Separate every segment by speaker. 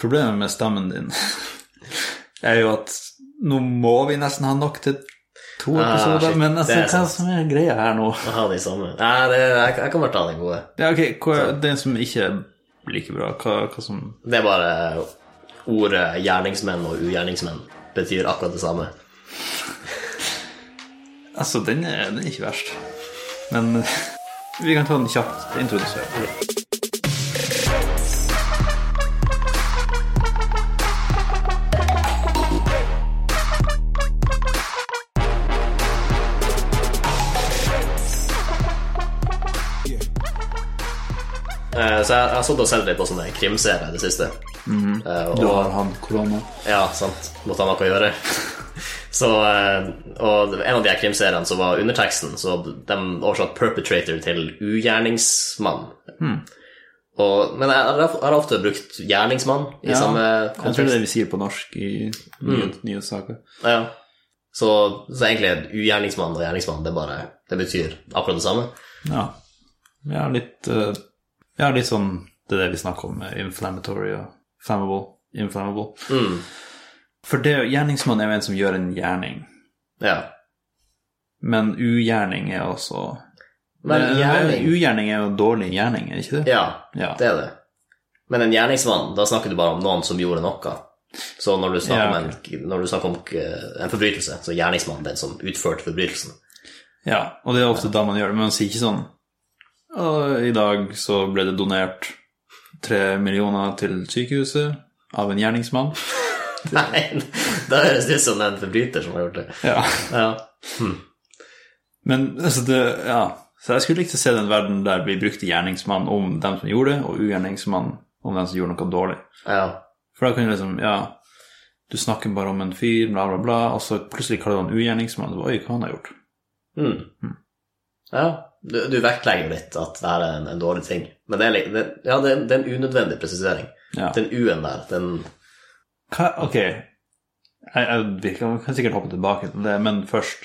Speaker 1: Problemet med stemmen din er jo at nå må vi nesten ha nok til to
Speaker 2: Ah,
Speaker 1: episoder.
Speaker 2: shit.
Speaker 1: men altså,
Speaker 2: Det er
Speaker 1: hva
Speaker 2: sant.
Speaker 1: som er greia her nå?
Speaker 2: Jeg har de samme. Nei, det, jeg, jeg kan bare ta den gode.
Speaker 1: Ja, ok, hva, Den som ikke er like bra, hva, hva som
Speaker 2: Det er bare ordet gjerningsmenn og ugjerningsmenn betyr akkurat det samme.
Speaker 1: Altså, den er, den er ikke verst. Men vi kan ta den kjapt introdusert.
Speaker 2: Eh, Så jeg jeg har sittet og sett litt på sånne krimserier i det siste. Eh, og-
Speaker 1: Du har han korona.
Speaker 2: Ja, sant. Måtte ha noe å gjøre. Så, eh, og en av de her krimseriene som var underteksten, så de oversatte 'perpetrator' til 'ugjerningsmann'.
Speaker 1: Hmm.
Speaker 2: Og, men jeg har- har ofte brukt 'gjerningsmann' i
Speaker 1: Ja, Mm.
Speaker 2: samme
Speaker 1: Jeg tror det er
Speaker 2: kontekst.
Speaker 1: det vi sier på norsk i nye, nyhetssaker.
Speaker 2: Ja. Så, så egentlig er 'ugjerningsmann' og 'gjerningsmann' det, er bare, det betyr akkurat det samme.
Speaker 1: Ja. Vi har litt, eh, vi har litt sånn Det er det vi snakker om med inflammatory og flammable. Inflammable.
Speaker 2: Mm.
Speaker 1: For det, gjerningsmann er jo en som gjør en gjerning.
Speaker 2: Ja.
Speaker 1: Men ugjerning er også
Speaker 2: Men
Speaker 1: Eh,
Speaker 2: gjerning-
Speaker 1: Ugjerning er jo en dårlig gjerning, er det ikke det?
Speaker 2: ja,
Speaker 1: Ja.
Speaker 2: det er det. Men en gjerningsmann, da snakker du bare om noen som gjorde noe. Så når du snakker,
Speaker 1: Ja,
Speaker 2: om, en, når du snakker om eh, en forbrytelse, så er gjerningsmannen den som utførte forbrytelsen.
Speaker 1: Ja, og det er ofte da man gjør det, men man sier ikke sånn «Å, I dag så ble det donert tre millioner til sykehuset av en gjerningsmann.
Speaker 2: Nei, da høres det ut som en forbryter som har gjort det.
Speaker 1: Ja.
Speaker 2: Ja.
Speaker 1: Men altså, det Ja. Så jeg skulle likt å se den verden der vi brukte gjerningsmann om dem som gjorde det, og ugjerningsmann om dem som gjorde noe dårlig.
Speaker 2: ja.
Speaker 1: For da kan du liksom Ja, du snakker bare om en fyr, bla, bla, bla, og så plutselig kaller du han ugjerningsmann. Oi, hva han har gjort?
Speaker 2: Mm. ja. Du, du vektlegger litt at det her er en, en dårlig ting. Men det er, litt- det, ja, det, er- det er en unødvendig presisering.
Speaker 1: Ja.
Speaker 2: Den U-en der, den
Speaker 1: Hva, ok, jeg, jeg, vi kan, kan sikkert hoppe tilbake til det, men først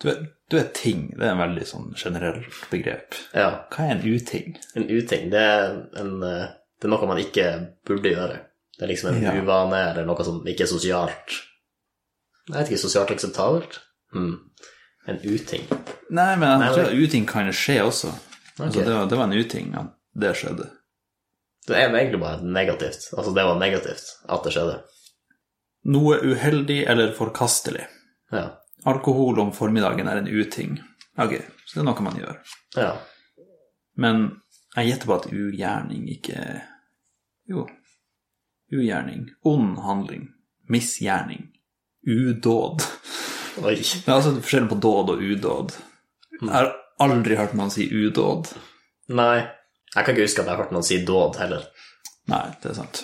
Speaker 1: du vet, du vet ting, det er en veldig sånn generelt begrep.
Speaker 2: Ja.
Speaker 1: Hva er en uting?
Speaker 2: En uting. Det er, en, eh, det er noe man ikke burde gjøre. Det er liksom en
Speaker 1: Ja.
Speaker 2: uvane eller noe som ikke er sosialt Jeg vet ikke, sosialt akseptabelt? Mm. En uting.
Speaker 1: Nei, men jeg
Speaker 2: Nei,
Speaker 1: tror at uting kan skje også. Altså,
Speaker 2: Ok.
Speaker 1: det, var, det var en uting at det skjedde.
Speaker 2: Det er egentlig bare negativt. Altså, det var negativt at det skjedde.
Speaker 1: Noe uheldig eller forkastelig.
Speaker 2: Ja.
Speaker 1: Alkohol om formiddagen er en uting. Ok, så det er noe man gjør.
Speaker 2: ja.
Speaker 1: Men jeg gjetter på at ugjerning ikke Jo. Ugjerning. Ond handling. Misgjerning. Udåd.
Speaker 2: Oi.
Speaker 1: Det er altså forskjellen på dåd og udåd. Jeg har aldri hørt noen si udåd.
Speaker 2: Nei. Jeg kan ikke huske at jeg har hørt noen si dåd heller,
Speaker 1: Nei, det er sant.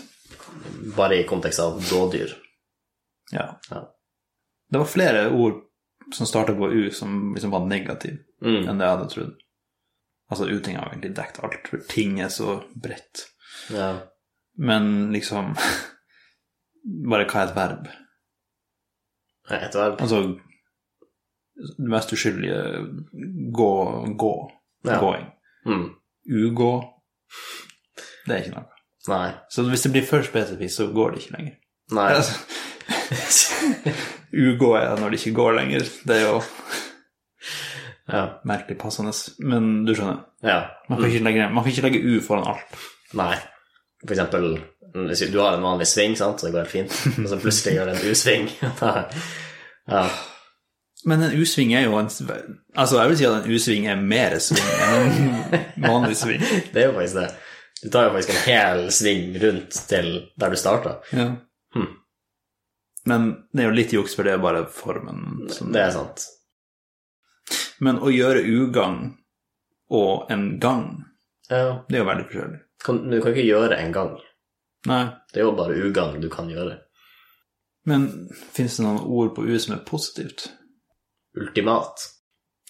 Speaker 2: bare i kontekst av dådyr.
Speaker 1: Ja.
Speaker 2: Ja.
Speaker 1: Det var flere ord som starta på u som liksom var negative
Speaker 2: Mm.
Speaker 1: enn det jeg hadde trodd. Altså uting har egentlig dekt alt, for ting er så bredt.
Speaker 2: Ja.
Speaker 1: Men liksom Bare hva er et verb?
Speaker 2: Et verb.
Speaker 1: Altså det mest uskyldige gå, gå,
Speaker 2: Ja.
Speaker 1: gåing.
Speaker 2: Mm.
Speaker 1: Ugå. Det er ikke noe.
Speaker 2: Nei.
Speaker 1: Så hvis det blir for spesifikt, så går det ikke lenger.
Speaker 2: Nei.
Speaker 1: Altså, Ugå er når det ikke går lenger. Det er jo
Speaker 2: Ja.
Speaker 1: merkelig passende. Men du skjønner,
Speaker 2: ja.
Speaker 1: man kan ikke legge, man kan ikke legge U foran alt.
Speaker 2: Nei. For eksempel, hvis du har en vanlig sving, sant, så det går helt fint, og så plutselig gjør du en U-sving. ja.
Speaker 1: Men en U-sving er jo en sv- Altså, jeg vil si at en U-sving er mer sving enn en vanlig sving.
Speaker 2: Det er jo faktisk det. Du tar jo faktisk en hel sving rundt til der du starta.
Speaker 1: Ja.
Speaker 2: Hmm.
Speaker 1: Men det er jo litt juks, for det er bare formen. Som,
Speaker 2: Det er sant.
Speaker 1: Men å gjøre ugagn og en gang,
Speaker 2: Ja.
Speaker 1: det er jo veldig forskjellig.
Speaker 2: Kan, du kan ikke gjøre en gang.
Speaker 1: Nei.
Speaker 2: Det er jo bare ugagn du kan gjøre.
Speaker 1: Men fins det noen ord på U som er positivt?
Speaker 2: Ultimat.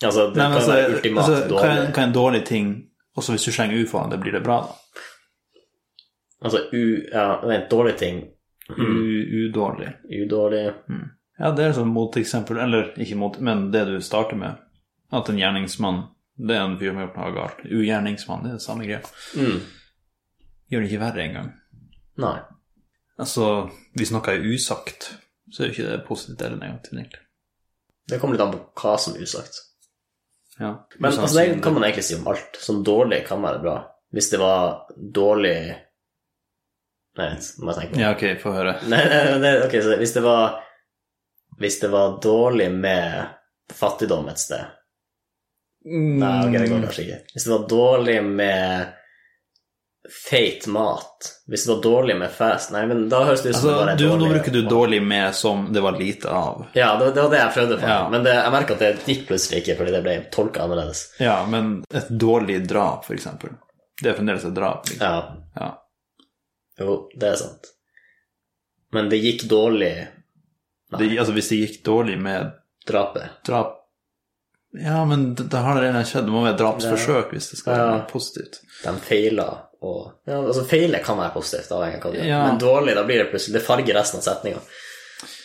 Speaker 2: Altså, det
Speaker 1: Nei, men
Speaker 2: kan jo
Speaker 1: altså,
Speaker 2: være ultimat
Speaker 1: altså, hva, er,
Speaker 2: dårlig.
Speaker 1: hva er en dårlig ting Også hvis du slenger ut foran det, blir det bra, da?
Speaker 2: Altså, u, ja, vent, dårlig ting.
Speaker 1: Mm.
Speaker 2: U,
Speaker 1: U, udårlig.
Speaker 2: udårlig.
Speaker 1: Ja, det er sånn moteksempel, eller ikke mot, men det du starter med. At en gjerningsmann, det er en fyr som har gjort noe galt. Ugjerningsmann, det er det samme greia.
Speaker 2: Mm.
Speaker 1: Gjør det ikke verre engang.
Speaker 2: Nei.
Speaker 1: Altså, hvis noe er usagt, så er jo ikke det positivt eller negativt, egentlig.
Speaker 2: Det kommer litt an på hva som er usagt.
Speaker 1: Ja.
Speaker 2: Men
Speaker 1: Usagt
Speaker 2: altså, det
Speaker 1: siden-
Speaker 2: kan man egentlig si om alt. Sånn dårlig kan være bra. Hvis det var dårlig Nei, nå må jeg tenke.
Speaker 1: Ja, ok, få høre.
Speaker 2: Nei, nei, nei, nei, ok, så hvis det var Hvis det var dårlig med fattigdom et sted
Speaker 1: Mm.
Speaker 2: Nei, ok, det går kanskje ikke. Hvis det var dårlig med feit mat Hvis det var dårlig med fast Nei, men da høres det ut som det
Speaker 1: Altså,
Speaker 2: var en
Speaker 1: du, nå
Speaker 2: dårlig-
Speaker 1: bruker du dårlig med som det var lite av.
Speaker 2: Ja, det, var- det var det jeg prøvde for.
Speaker 1: Ja.
Speaker 2: Men det, jeg merker at det gikk plutselig ikke, fordi det ble tolka annerledes.
Speaker 1: Ja, men et dårlig drap, for eksempel. Det er fremdeles et drap. Liksom.
Speaker 2: Ja,
Speaker 1: Ja.
Speaker 2: jo, det er sant. Men det gikk dårlig,
Speaker 1: Det, altså, hvis det gikk dårlig med
Speaker 2: drapet.
Speaker 1: drap Ja, men det, det har allerede skjedd. Det må være et drapsforsøk hvis det skal
Speaker 2: Ja.
Speaker 1: være positivt.
Speaker 2: De feila og ja, Altså, feile kan være positivt, avhengig av hva du gjør,
Speaker 1: Ja.
Speaker 2: men dårlig, da blir det plutselig Det farger resten av setninga.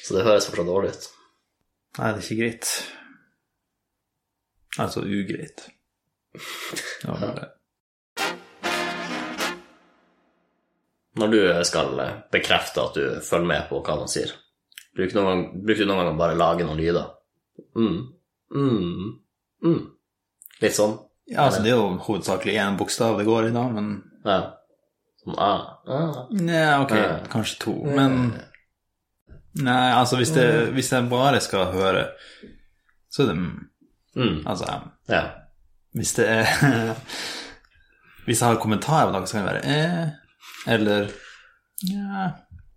Speaker 2: Så det høres fortsatt dårlig ut.
Speaker 1: Nei, det er ikke greit. Altså ugreit. Det var bare
Speaker 2: Når du skal bekrefte at du følger med på hva man sier, bruker du noen gang, bruker du noen gang å bare lage noen lyder? Mm, mm, mm. Litt sånn?
Speaker 1: Ja, altså, det er jo hovedsakelig én bokstav det går i, da, men
Speaker 2: Ja. Sånn ah, ah.
Speaker 1: Nja, ok,
Speaker 2: Ja.
Speaker 1: kanskje to, men Nei, altså, hvis, det, hvis jeg bare skal høre, så er det mm.
Speaker 2: Mm,
Speaker 1: Altså,
Speaker 2: ja.
Speaker 1: hvis det er Hvis jeg har kommentarer på noe, så kan det være eh, eller nja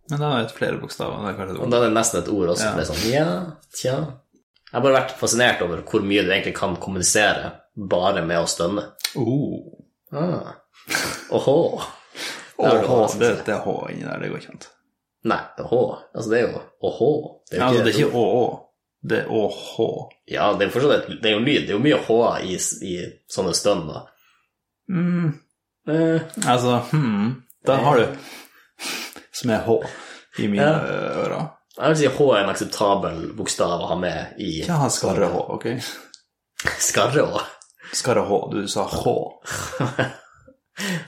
Speaker 1: Men da er det flere bokstaver. Det er kanskje
Speaker 2: Og
Speaker 1: det.
Speaker 2: da er det nesten et ord også.
Speaker 1: Ja.
Speaker 2: Det er sånn ja, tja. Jeg har bare vært fascinert over hvor mye du egentlig kan kommunisere bare med å stønne.
Speaker 1: Oh.
Speaker 2: Ah. Åhå.
Speaker 1: Det,
Speaker 2: Der
Speaker 1: er
Speaker 2: du
Speaker 1: H,
Speaker 2: har
Speaker 1: det,
Speaker 2: det.
Speaker 1: det er H inni der, det går ikke an.
Speaker 2: Nei, åhå. Altså, det er jo åhå. Det
Speaker 1: Ja, altså, det er
Speaker 2: et ord.
Speaker 1: ikke ÅÅ, det er ÅH.
Speaker 2: Ja, det er jo fortsatt et, det er jo lyd. Det er jo mye H i, s- i sånne stønn. da.
Speaker 1: Mm,
Speaker 2: Eh,
Speaker 1: altså, hmm, der har du Som er H i mine
Speaker 2: Ja.
Speaker 1: ører.
Speaker 2: Jeg vil si H er en akseptabel bokstav å ha med i
Speaker 1: Ikke ha skarre H, ok?
Speaker 2: skarre òg.
Speaker 1: Skarre H, du sa H.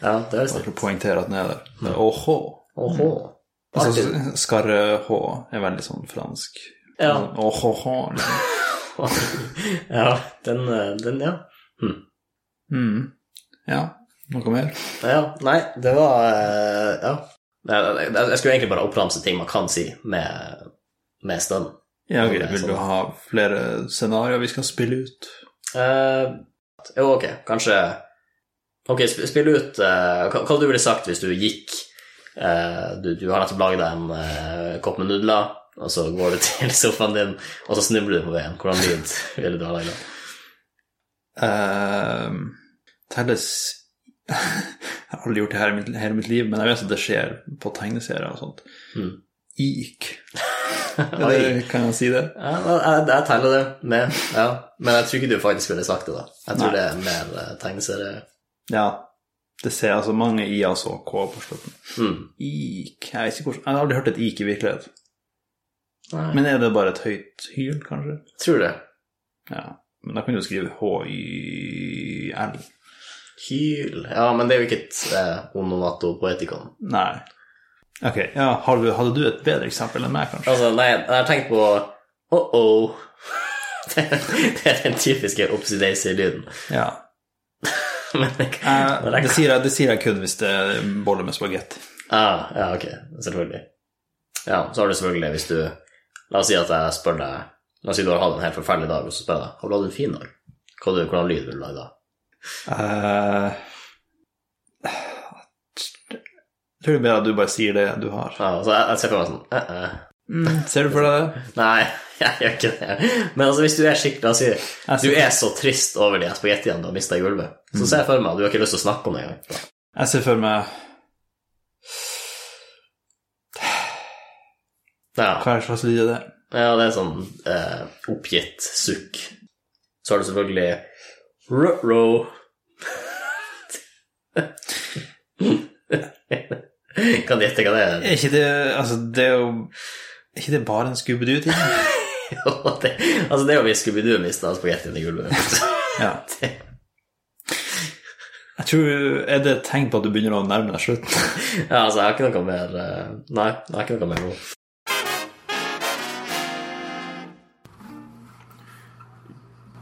Speaker 2: Ja, det høres
Speaker 1: Bare
Speaker 2: litt
Speaker 1: for å poengtere at den er der.
Speaker 2: Mm.
Speaker 1: Det er ÅH.
Speaker 2: Åhå.
Speaker 1: Altså,
Speaker 2: Artig.
Speaker 1: skarre H er veldig sånn fransk.
Speaker 2: Ja.
Speaker 1: ÅH. liksom.
Speaker 2: ja, den, eh, den ja.
Speaker 1: Mm. Ja, noe mer?
Speaker 2: ja. Nei, det var eh, Ja. Nei, nei, nei, Jeg skulle egentlig bare oppramse ting man kan si med, med stønn.
Speaker 1: Ja, ok,
Speaker 2: Det er
Speaker 1: vil
Speaker 2: sånn.
Speaker 1: du ha flere scenarier vi skal spille ut?
Speaker 2: Eh, jo, ok, kanskje Ok, sp- spill ut eh, hva, hva du ville sagt hvis du gikk eh, du, du har nettopp laget deg en eh, kopp med nudler, og så går du til sofaen din, og så snubler du på veien. Hvordan lyd ville du ha laget?
Speaker 1: Ehm, telles Jeg har aldri gjort det her i mitt, hele mitt liv, men jeg vet at det skjer på tegneserier og sånt.
Speaker 2: Mm.
Speaker 1: Ik.
Speaker 2: Oi.
Speaker 1: Eller, kan jeg si det?
Speaker 2: Ja, jeg, jeg, jeg teller det med, ja. Men jeg tror ikke du faktisk ville sagt det, da. Jeg tror
Speaker 1: Nei.
Speaker 2: det er mer eh, tegneserie.
Speaker 1: Ja. Det ser altså mange i-er og så k på slutten.
Speaker 2: Mm.
Speaker 1: Ik Jeg vet ikke hvordan Jeg har aldri hørt et ik i virkelighet.
Speaker 2: Nei,
Speaker 1: Men er det bare et høyt hyl, kanskje?
Speaker 2: jeg tror det.
Speaker 1: Ja. Men da kan du jo skrive h-y-l.
Speaker 2: Hyl Ja, men det er jo ikke et eh, onomatopoetikon.
Speaker 1: Nei. Ok, ja, har du, hadde du et bedre eksempel enn meg, kanskje?
Speaker 2: Altså, nei, jeg har tenkt på oh-oh. det det er den typiske oppsidaisy-lyden.
Speaker 1: Ja.
Speaker 2: Men jeg-
Speaker 1: Eh,
Speaker 2: når jeg-
Speaker 1: det, sier jeg, det sier jeg kun hvis det er boller med spagetti.
Speaker 2: ah, Ja, ok. Selvfølgelig. Ja, så har du selvfølgelig, hvis du La oss si at jeg spør deg La oss si du har hatt en helt forferdelig dag, og så spør jeg deg har du hatt en fin dag. Hva du, hvordan lyd vil du lage da?
Speaker 1: Eh, jeg tror det er bedre at du bare sier det du har.
Speaker 2: Ja, så jeg, jeg ser for meg sånn eh, eh.
Speaker 1: Mm, ser du for deg det?
Speaker 2: Nei, jeg gjør ikke det. Men altså, hvis du er skikkelig La oss si
Speaker 1: Jeg
Speaker 2: du
Speaker 1: ser,
Speaker 2: er så trist over de spagettiene du har mista i gulvet, så ser jeg for meg at du har ikke lyst til å snakke om det engang.
Speaker 1: jeg ser for meg
Speaker 2: Ja.
Speaker 1: hva slags lyd er det
Speaker 2: Ja, det er sånn eh, oppgitt sukk. Så har du selvfølgelig Ruh-roh. kan du gjette hva det er?
Speaker 1: er. Ikke det, altså, det er jo er ikke det bare en Scooby-Doo-ting?
Speaker 2: det, altså, det er jo hvis Scooby-Doo mista spagettien i gulvet.
Speaker 1: Ja. Jeg tror, Er det et tegn på at du begynner å nærme deg slutten?
Speaker 2: Ja, altså, jeg har ikke noe mer eh, Nei, jeg har ikke noe mer nå.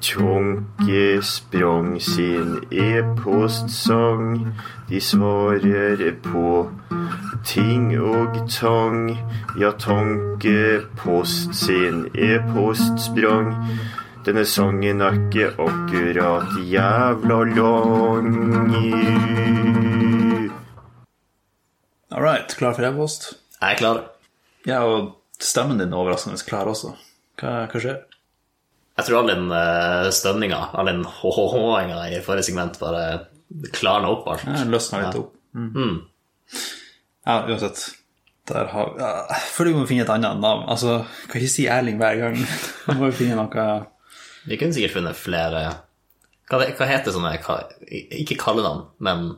Speaker 3: Tjonke sprang sin e-postsang. De svarer på ting og tang. Ja, Tankepost sin e-post sprang. Denne sangen er ikke akkurat jævla lang.
Speaker 1: All right, klar for e-post?
Speaker 2: Jeg er klar.
Speaker 1: Ja, og stemmen din er overraskende klar også. Hva, hva skjer?
Speaker 2: Jeg tror all den eh, stønninga, all den hå-hå-håinga i forrige segment bare klarna opp altså. alt.
Speaker 1: Jeg løsner litt opp. Mm. Ja, uansett. Der har ja, Jeg føler vi må finne et annet navn. Altså, kan ikke si Erling hver gang. Vi må jo finne noe
Speaker 2: Vi kunne sikkert funnet flere Hva, det- hva heter sånne ka- Ikke kallenavn, men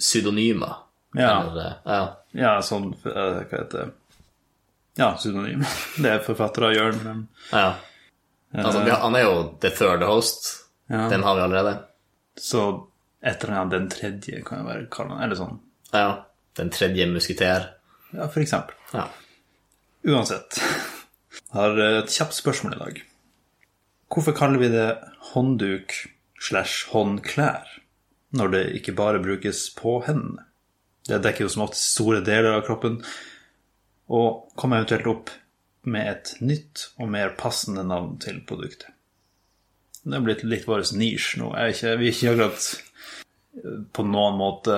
Speaker 2: pseudonymer.
Speaker 1: Ja.
Speaker 2: Eller, eh, ja.
Speaker 1: Ja, sånn eh, Hva heter det? Ja, pseudonym. Det er forfattere gjør, men
Speaker 2: ja. Altså, vi har- han er jo the third host.
Speaker 1: Ja.
Speaker 2: Den har vi allerede.
Speaker 1: Så et eller annet den tredje kan jo være kallenavn. Eller sånn.
Speaker 2: Ja. Den tredje musketer.
Speaker 1: Ja, for eksempel.
Speaker 2: Ja.
Speaker 1: Uansett. Jeg har eh, et kjapt spørsmål i dag. Hvorfor kaller vi det håndduk slash håndklær når det ikke bare brukes på hendene? Det dekker jo som oftest store deler av kroppen, og kom eventuelt opp med et nytt og mer passende navn til produktet. Det er blitt litt vår nisje nå. Jeg er ikke, vi er ikke akkurat eh, på noen måte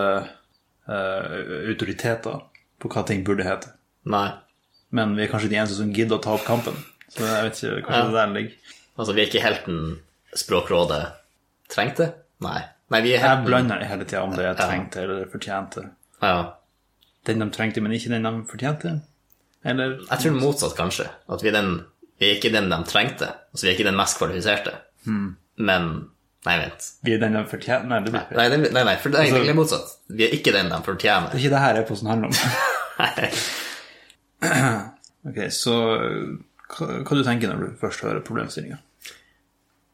Speaker 1: eh, autoriteter på hva ting burde hete.
Speaker 2: Nei.
Speaker 1: Men vi er kanskje de eneste som gidder å ta opp kampen. Så jeg vet ikke kanskje det der ligger.
Speaker 2: Altså, vi er ikke helten Språkrådet trengte? Nei. Nei, vi er
Speaker 1: Jeg
Speaker 2: helten
Speaker 1: blander hele tida om det jeg trengte eller fortjente.
Speaker 2: Ja.
Speaker 1: Den de trengte, men ikke den de fortjente. Eller
Speaker 2: Jeg tror motsatt, kanskje. At vi er, den, vi er ikke den de trengte. Altså, vi er ikke den mest kvalifiserte.
Speaker 1: Hmm.
Speaker 2: Men Nei, vent.
Speaker 1: vi er den de fortjener. Nei, det blir feil.
Speaker 2: Nei, det, nei, nei, for det er egentlig motsatt. Vi er ikke den de fortjener.
Speaker 1: Det er ikke det her jeg på sånn handler om.
Speaker 2: Nei.
Speaker 1: ok, så hva, hva du tenker når du først hører problemstillinga?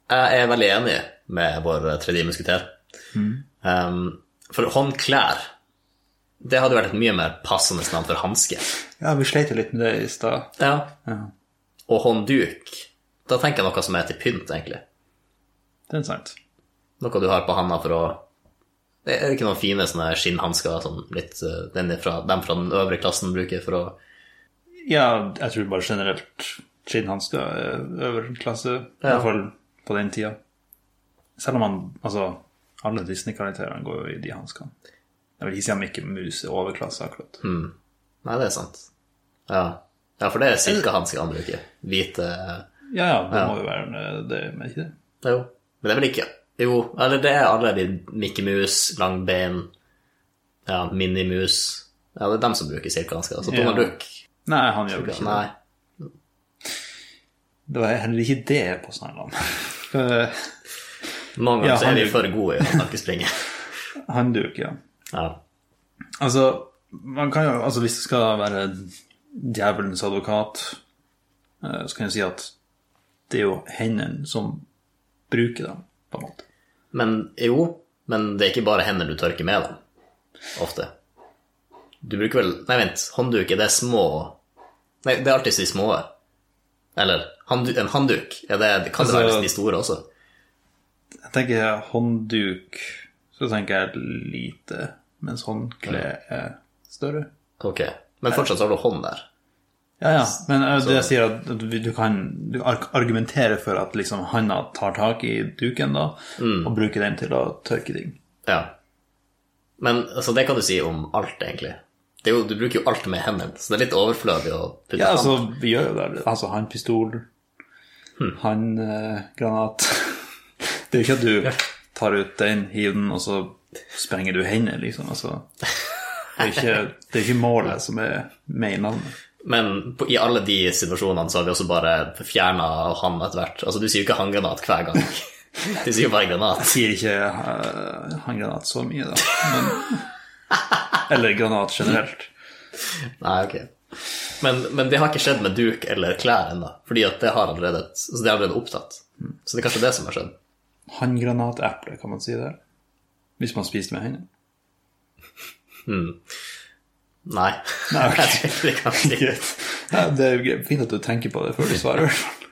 Speaker 2: Jeg er veldig enig med vår tredje musketer. Um, for håndklær, det hadde vært et mye mer passende navn for hanske.
Speaker 1: Ja, vi sleit jo litt med det i stad.
Speaker 2: Ja. Og håndduk, da tenker jeg noe som er til pynt, egentlig.
Speaker 1: Det er sant.
Speaker 2: Noe du har på handa for å Det er ikke noen fine sånne skinnhansker, sånn litt uh, den er fra, dem fra den øvre klassen bruker for å
Speaker 1: Ja, jeg tror bare generelt skinnhansker er øverklasse, i hvert fall på den tida. Selv om han, altså, alle Disney-karakterene går jo i de hanskene. Jeg vil ikke si om ikke mus er overklasse, akkurat.
Speaker 2: Nei, det er sant. Ja. ja, for det er silkehansker han bruker. Hvite
Speaker 1: Ja, ja, det må jo være en- eh, det, men ikke det?
Speaker 2: Ja, Jo, men det er vel ikke Jo, eller det er alle de Mickey Mouse, Langbein, ja, Minimus Ja, det er dem som bruker silkehansker. Altså Donald
Speaker 1: Ja.
Speaker 2: Duck.
Speaker 1: Nei, han gjør vel ikke det.
Speaker 2: Nei.
Speaker 1: Det var heller ikke det på Snarland. Eh,
Speaker 2: Noen ganger
Speaker 1: Ja,
Speaker 2: så er
Speaker 1: han
Speaker 2: vi
Speaker 1: gjør-
Speaker 2: for gode i å snakkespringe.
Speaker 1: Handduk, ja.
Speaker 2: Ja.
Speaker 1: Altså, man kan jo, altså hvis det skal være djevelens advokat, eh, så kan jeg si at det er jo hendene som bruker dem, på en måte.
Speaker 2: Men jo, men det er ikke bare hender du tørker med dem. Ofte. Du bruker vel Nei, vent. Håndduk, er det små Nei, det er alltid de små. Eller handdu- en håndduk? Ja, det, det kan det
Speaker 1: Altså-
Speaker 2: være de store også.
Speaker 1: Jeg tenker håndduk, så tenker jeg lite, mens håndkle er større.
Speaker 2: Ok. Men fortsatt så har du hånd der.
Speaker 1: Ja, ja, men eh, det jeg sier at at vi- du kan du ar- argumentere for at liksom handa tar tak i duken da, og bruker den til å tørke ting.
Speaker 2: Ja. Men altså, det kan du si om alt, egentlig. Det er jo, du bruker jo alt med hendene, så det er litt overflødig å putte
Speaker 1: Ja,
Speaker 2: hånd.
Speaker 1: altså, vi gjør jo det. Altså, handpistol, handgranat. eh, Det er jo ikke at du tar ut den, hiver den, og så sprenger du hendene, liksom. Altså, det er jo ikke, det er ikke målet som er med i navnet.
Speaker 2: Men på, i alle de situasjonene så har vi også bare fjerna hånd etter hvert. Altså, du sier jo ikke håndgranat hver gang. Du sier jo bare granat.
Speaker 1: sier ikke eh, handgranat så mye, da. Men, eller granat generelt.
Speaker 2: Nei, ok. Men, men det har ikke skjedd med duk eller klær ennå, fordi at det har allerede, et- altså,
Speaker 1: Mm.
Speaker 2: det er allerede opptatt. Så det er kanskje det som har skjedd.
Speaker 1: Handgranateple, kan man si det? Hvis man spiste med hendene.
Speaker 2: Nei.
Speaker 1: Nei, ok.
Speaker 2: Jeg tror ikke han sier det.
Speaker 1: Nei, det er jo greit. fint at du tenker på det før du svarer. i hvert fall.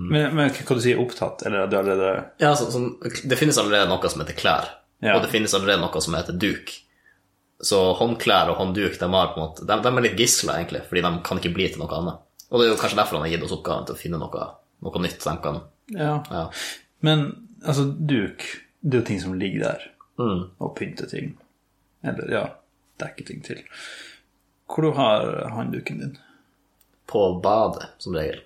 Speaker 1: Men, men hva du sier opptatt, eller at du allerede
Speaker 2: Ja, så, som- det finnes allerede noe som heter klær,
Speaker 1: Ja.
Speaker 2: og det finnes allerede noe som heter duk. Så håndklær og håndduk de, har på en måte, de, de er litt gisler, egentlig, fordi de kan ikke bli til noe annet. Og det er jo kanskje derfor han har gitt oss oppgaven til å finne noe, noe nytt de kan
Speaker 1: Ja.
Speaker 2: ja.
Speaker 1: Men altså, duk, det er jo ting som ligger der,
Speaker 2: Mm.
Speaker 1: og pynter ting. Eller ja, dekker ting til. Hvor du har håndduken din?
Speaker 2: På badet, som regel.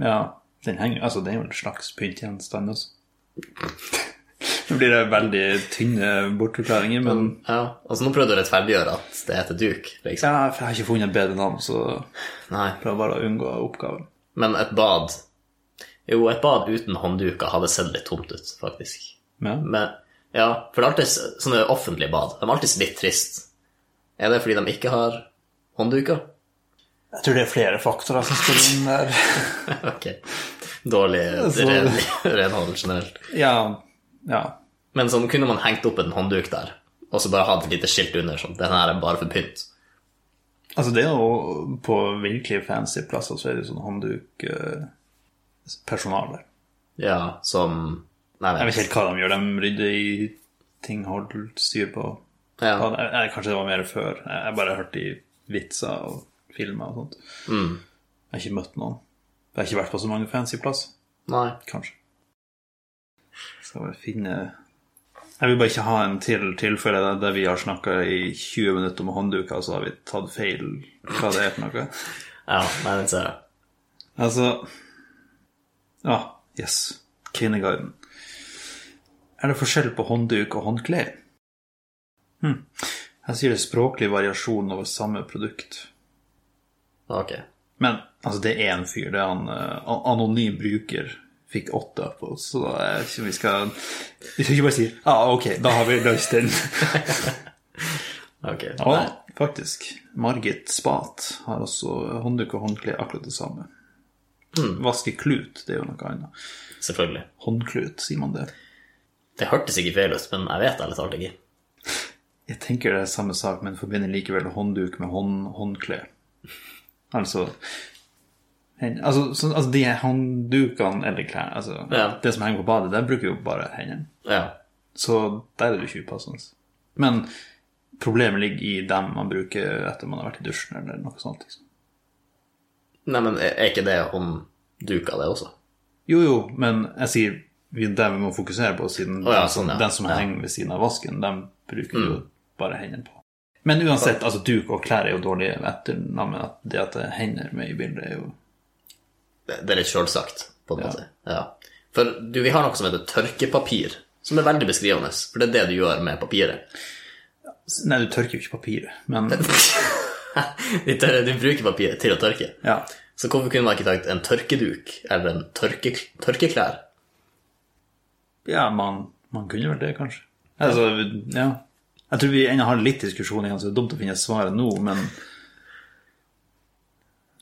Speaker 1: Ja, den henger Altså, det er jo en slags pyntgjenstand også. Nå blir det veldig tynne bortforklaringer, men
Speaker 2: Ja, altså Nå prøvde du å rettferdiggjøre at det heter duk, liksom.
Speaker 1: ja, for jeg har ikke funnet et bedre navn, så
Speaker 2: Nei.
Speaker 1: prøver bare å unngå oppgaven.
Speaker 2: Men et bad Jo, et bad uten håndduker hadde sett litt tomt ut, faktisk.
Speaker 1: Ja.
Speaker 2: Men, ja, for det er alltid s- sånne offentlige bad. De er alltid litt trist. Er det fordi de ikke har håndduker?
Speaker 1: Jeg tror det er flere faktorer som spiller inn der.
Speaker 2: Ok. Dårlig
Speaker 1: så-
Speaker 2: ren, renhold generelt.
Speaker 1: Ja, ja.
Speaker 2: Men sånn kunne man hengt opp en håndduk der, og så bare hatt et lite skilt under sånn, den her er bare for pynt.
Speaker 1: Altså, det er jo på virkelig fancy plasser så er det jo sånn hånddukpersonale.
Speaker 2: Ja, som Nei,
Speaker 1: Jeg vet ikke helt hva de gjør. De rydder i ting, holder styr på
Speaker 2: Ja.
Speaker 1: jeg, jeg, Kanskje det var mer før. Jeg, jeg bare hørte i vitser og filmer og sånt. Jeg har ikke møtt noen. Jeg har ikke vært på så mange fancy plasser.
Speaker 2: Nei.
Speaker 1: Kanskje. Skal bare finne Jeg vil bare ikke ha en til tilfelle der- der vi har snakka i 20 minutter om håndduker, og så har vi tatt feil hva det er for noe.
Speaker 2: Ja, nei, den ser jeg.
Speaker 1: Altså Ja, yes. Kvinneguiden. Er det forskjell på håndduk og håndkle? Hm. Her sier det språklig variasjon over samme produkt.
Speaker 2: Ok.
Speaker 1: Men altså, det er en fyr. Det er han eh, an- anonym bruker. Fikk åtte på, så jeg vet ikke om vi skal Vi skal ikke bare si ja, ah, ok, da har vi løst den.
Speaker 2: Ok.
Speaker 1: Og
Speaker 2: Nei.
Speaker 1: faktisk, Margit Spat har også håndduk og håndkle akkurat det samme. Vaske klut, det er jo noe annet.
Speaker 2: Selvfølgelig.
Speaker 1: Håndklut, sier man det.
Speaker 2: Det hørtes ikke feil ut, men jeg vet ærlig talt ikke.
Speaker 1: Jeg tenker det er samme sak, men forbinder likevel håndduk med hånd, håndkle. Altså, hen, altså, så, altså de her hånddukene eller klær, altså,
Speaker 2: Ja.
Speaker 1: det som henger på badet, der bruker vi jo bare hendene.
Speaker 2: Ja.
Speaker 1: Så der er det jo ikke upassende. Men problemet ligger i dem man bruker etter man har vært i dusjen eller noe sånt. Liksom.
Speaker 2: Nei, men er ikke det håndduka, det også?
Speaker 1: Jo, jo, men jeg sier vi- det vi må fokusere på, siden
Speaker 2: Å ja,
Speaker 1: den, som,
Speaker 2: sånn, ja.
Speaker 1: den som
Speaker 2: Ja. Mm.
Speaker 1: henger ved siden av vasken, dem bruker vi jo bare hendene på. Men uansett, altså duk og klær er jo dårlige etternavn, men at det at det er hender med i bildet, er jo
Speaker 2: Det det er litt sjølsagt, på en måte. Ja. For du, vi har noe som heter tørkepapir, som er veldig beskrivende. For det er det du gjør med papiret.
Speaker 1: Nei, du tørker jo ikke papiret, men
Speaker 2: Du tør- du bruker papiret til å tørke.
Speaker 1: ja.
Speaker 2: Så hvorfor kunne man ikke tatt en tørkeduk eller en tørke, tørkeklær?
Speaker 1: Ja, man, man kunne vel det, kanskje. Altså, ja. Jeg tror vi ennå har litt diskusjon igjen, så det er dumt å finne svaret nå, men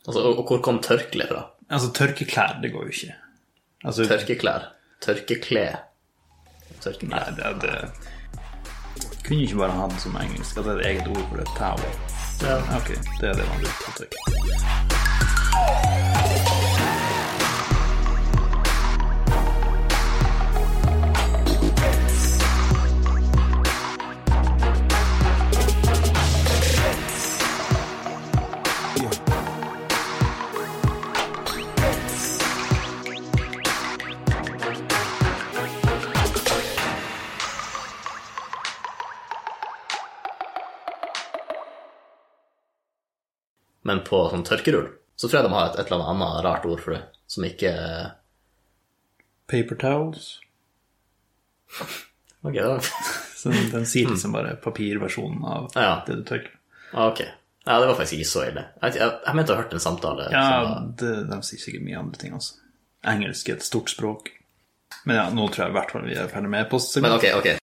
Speaker 2: Altså, og, og hvor kom tørkle fra?
Speaker 1: altså, tørkeklær, det går jo ikke. Altså,
Speaker 2: Tørkeklær. Tørkekle. Tørkekle.
Speaker 1: Nei, det, det Kunne ikke bare ha det som engelsk, at det er et eget ord for det. Towel.
Speaker 2: Ja.
Speaker 1: Ok, det er det man bruker til å tørke.
Speaker 2: Men på sånn tørkerull så tror jeg de har et, et eller annet rart ord for det, som ikke
Speaker 1: Paper towels.
Speaker 2: Ok, da.
Speaker 1: Så den- den sier liksom bare papirversjonen av
Speaker 2: Ja.
Speaker 1: det du tørker.
Speaker 2: Ah, ok. Ja, det var faktisk ikke så ille. Jeg, jeg, jeg mente å ha hørt en samtale. som var-
Speaker 1: Ja, det, de sier sikkert mye andre ting også. Engelsk er et stort språk. Men ja, nå tror jeg i hvert fall vi er ferdig med post.
Speaker 2: Men ok, ok.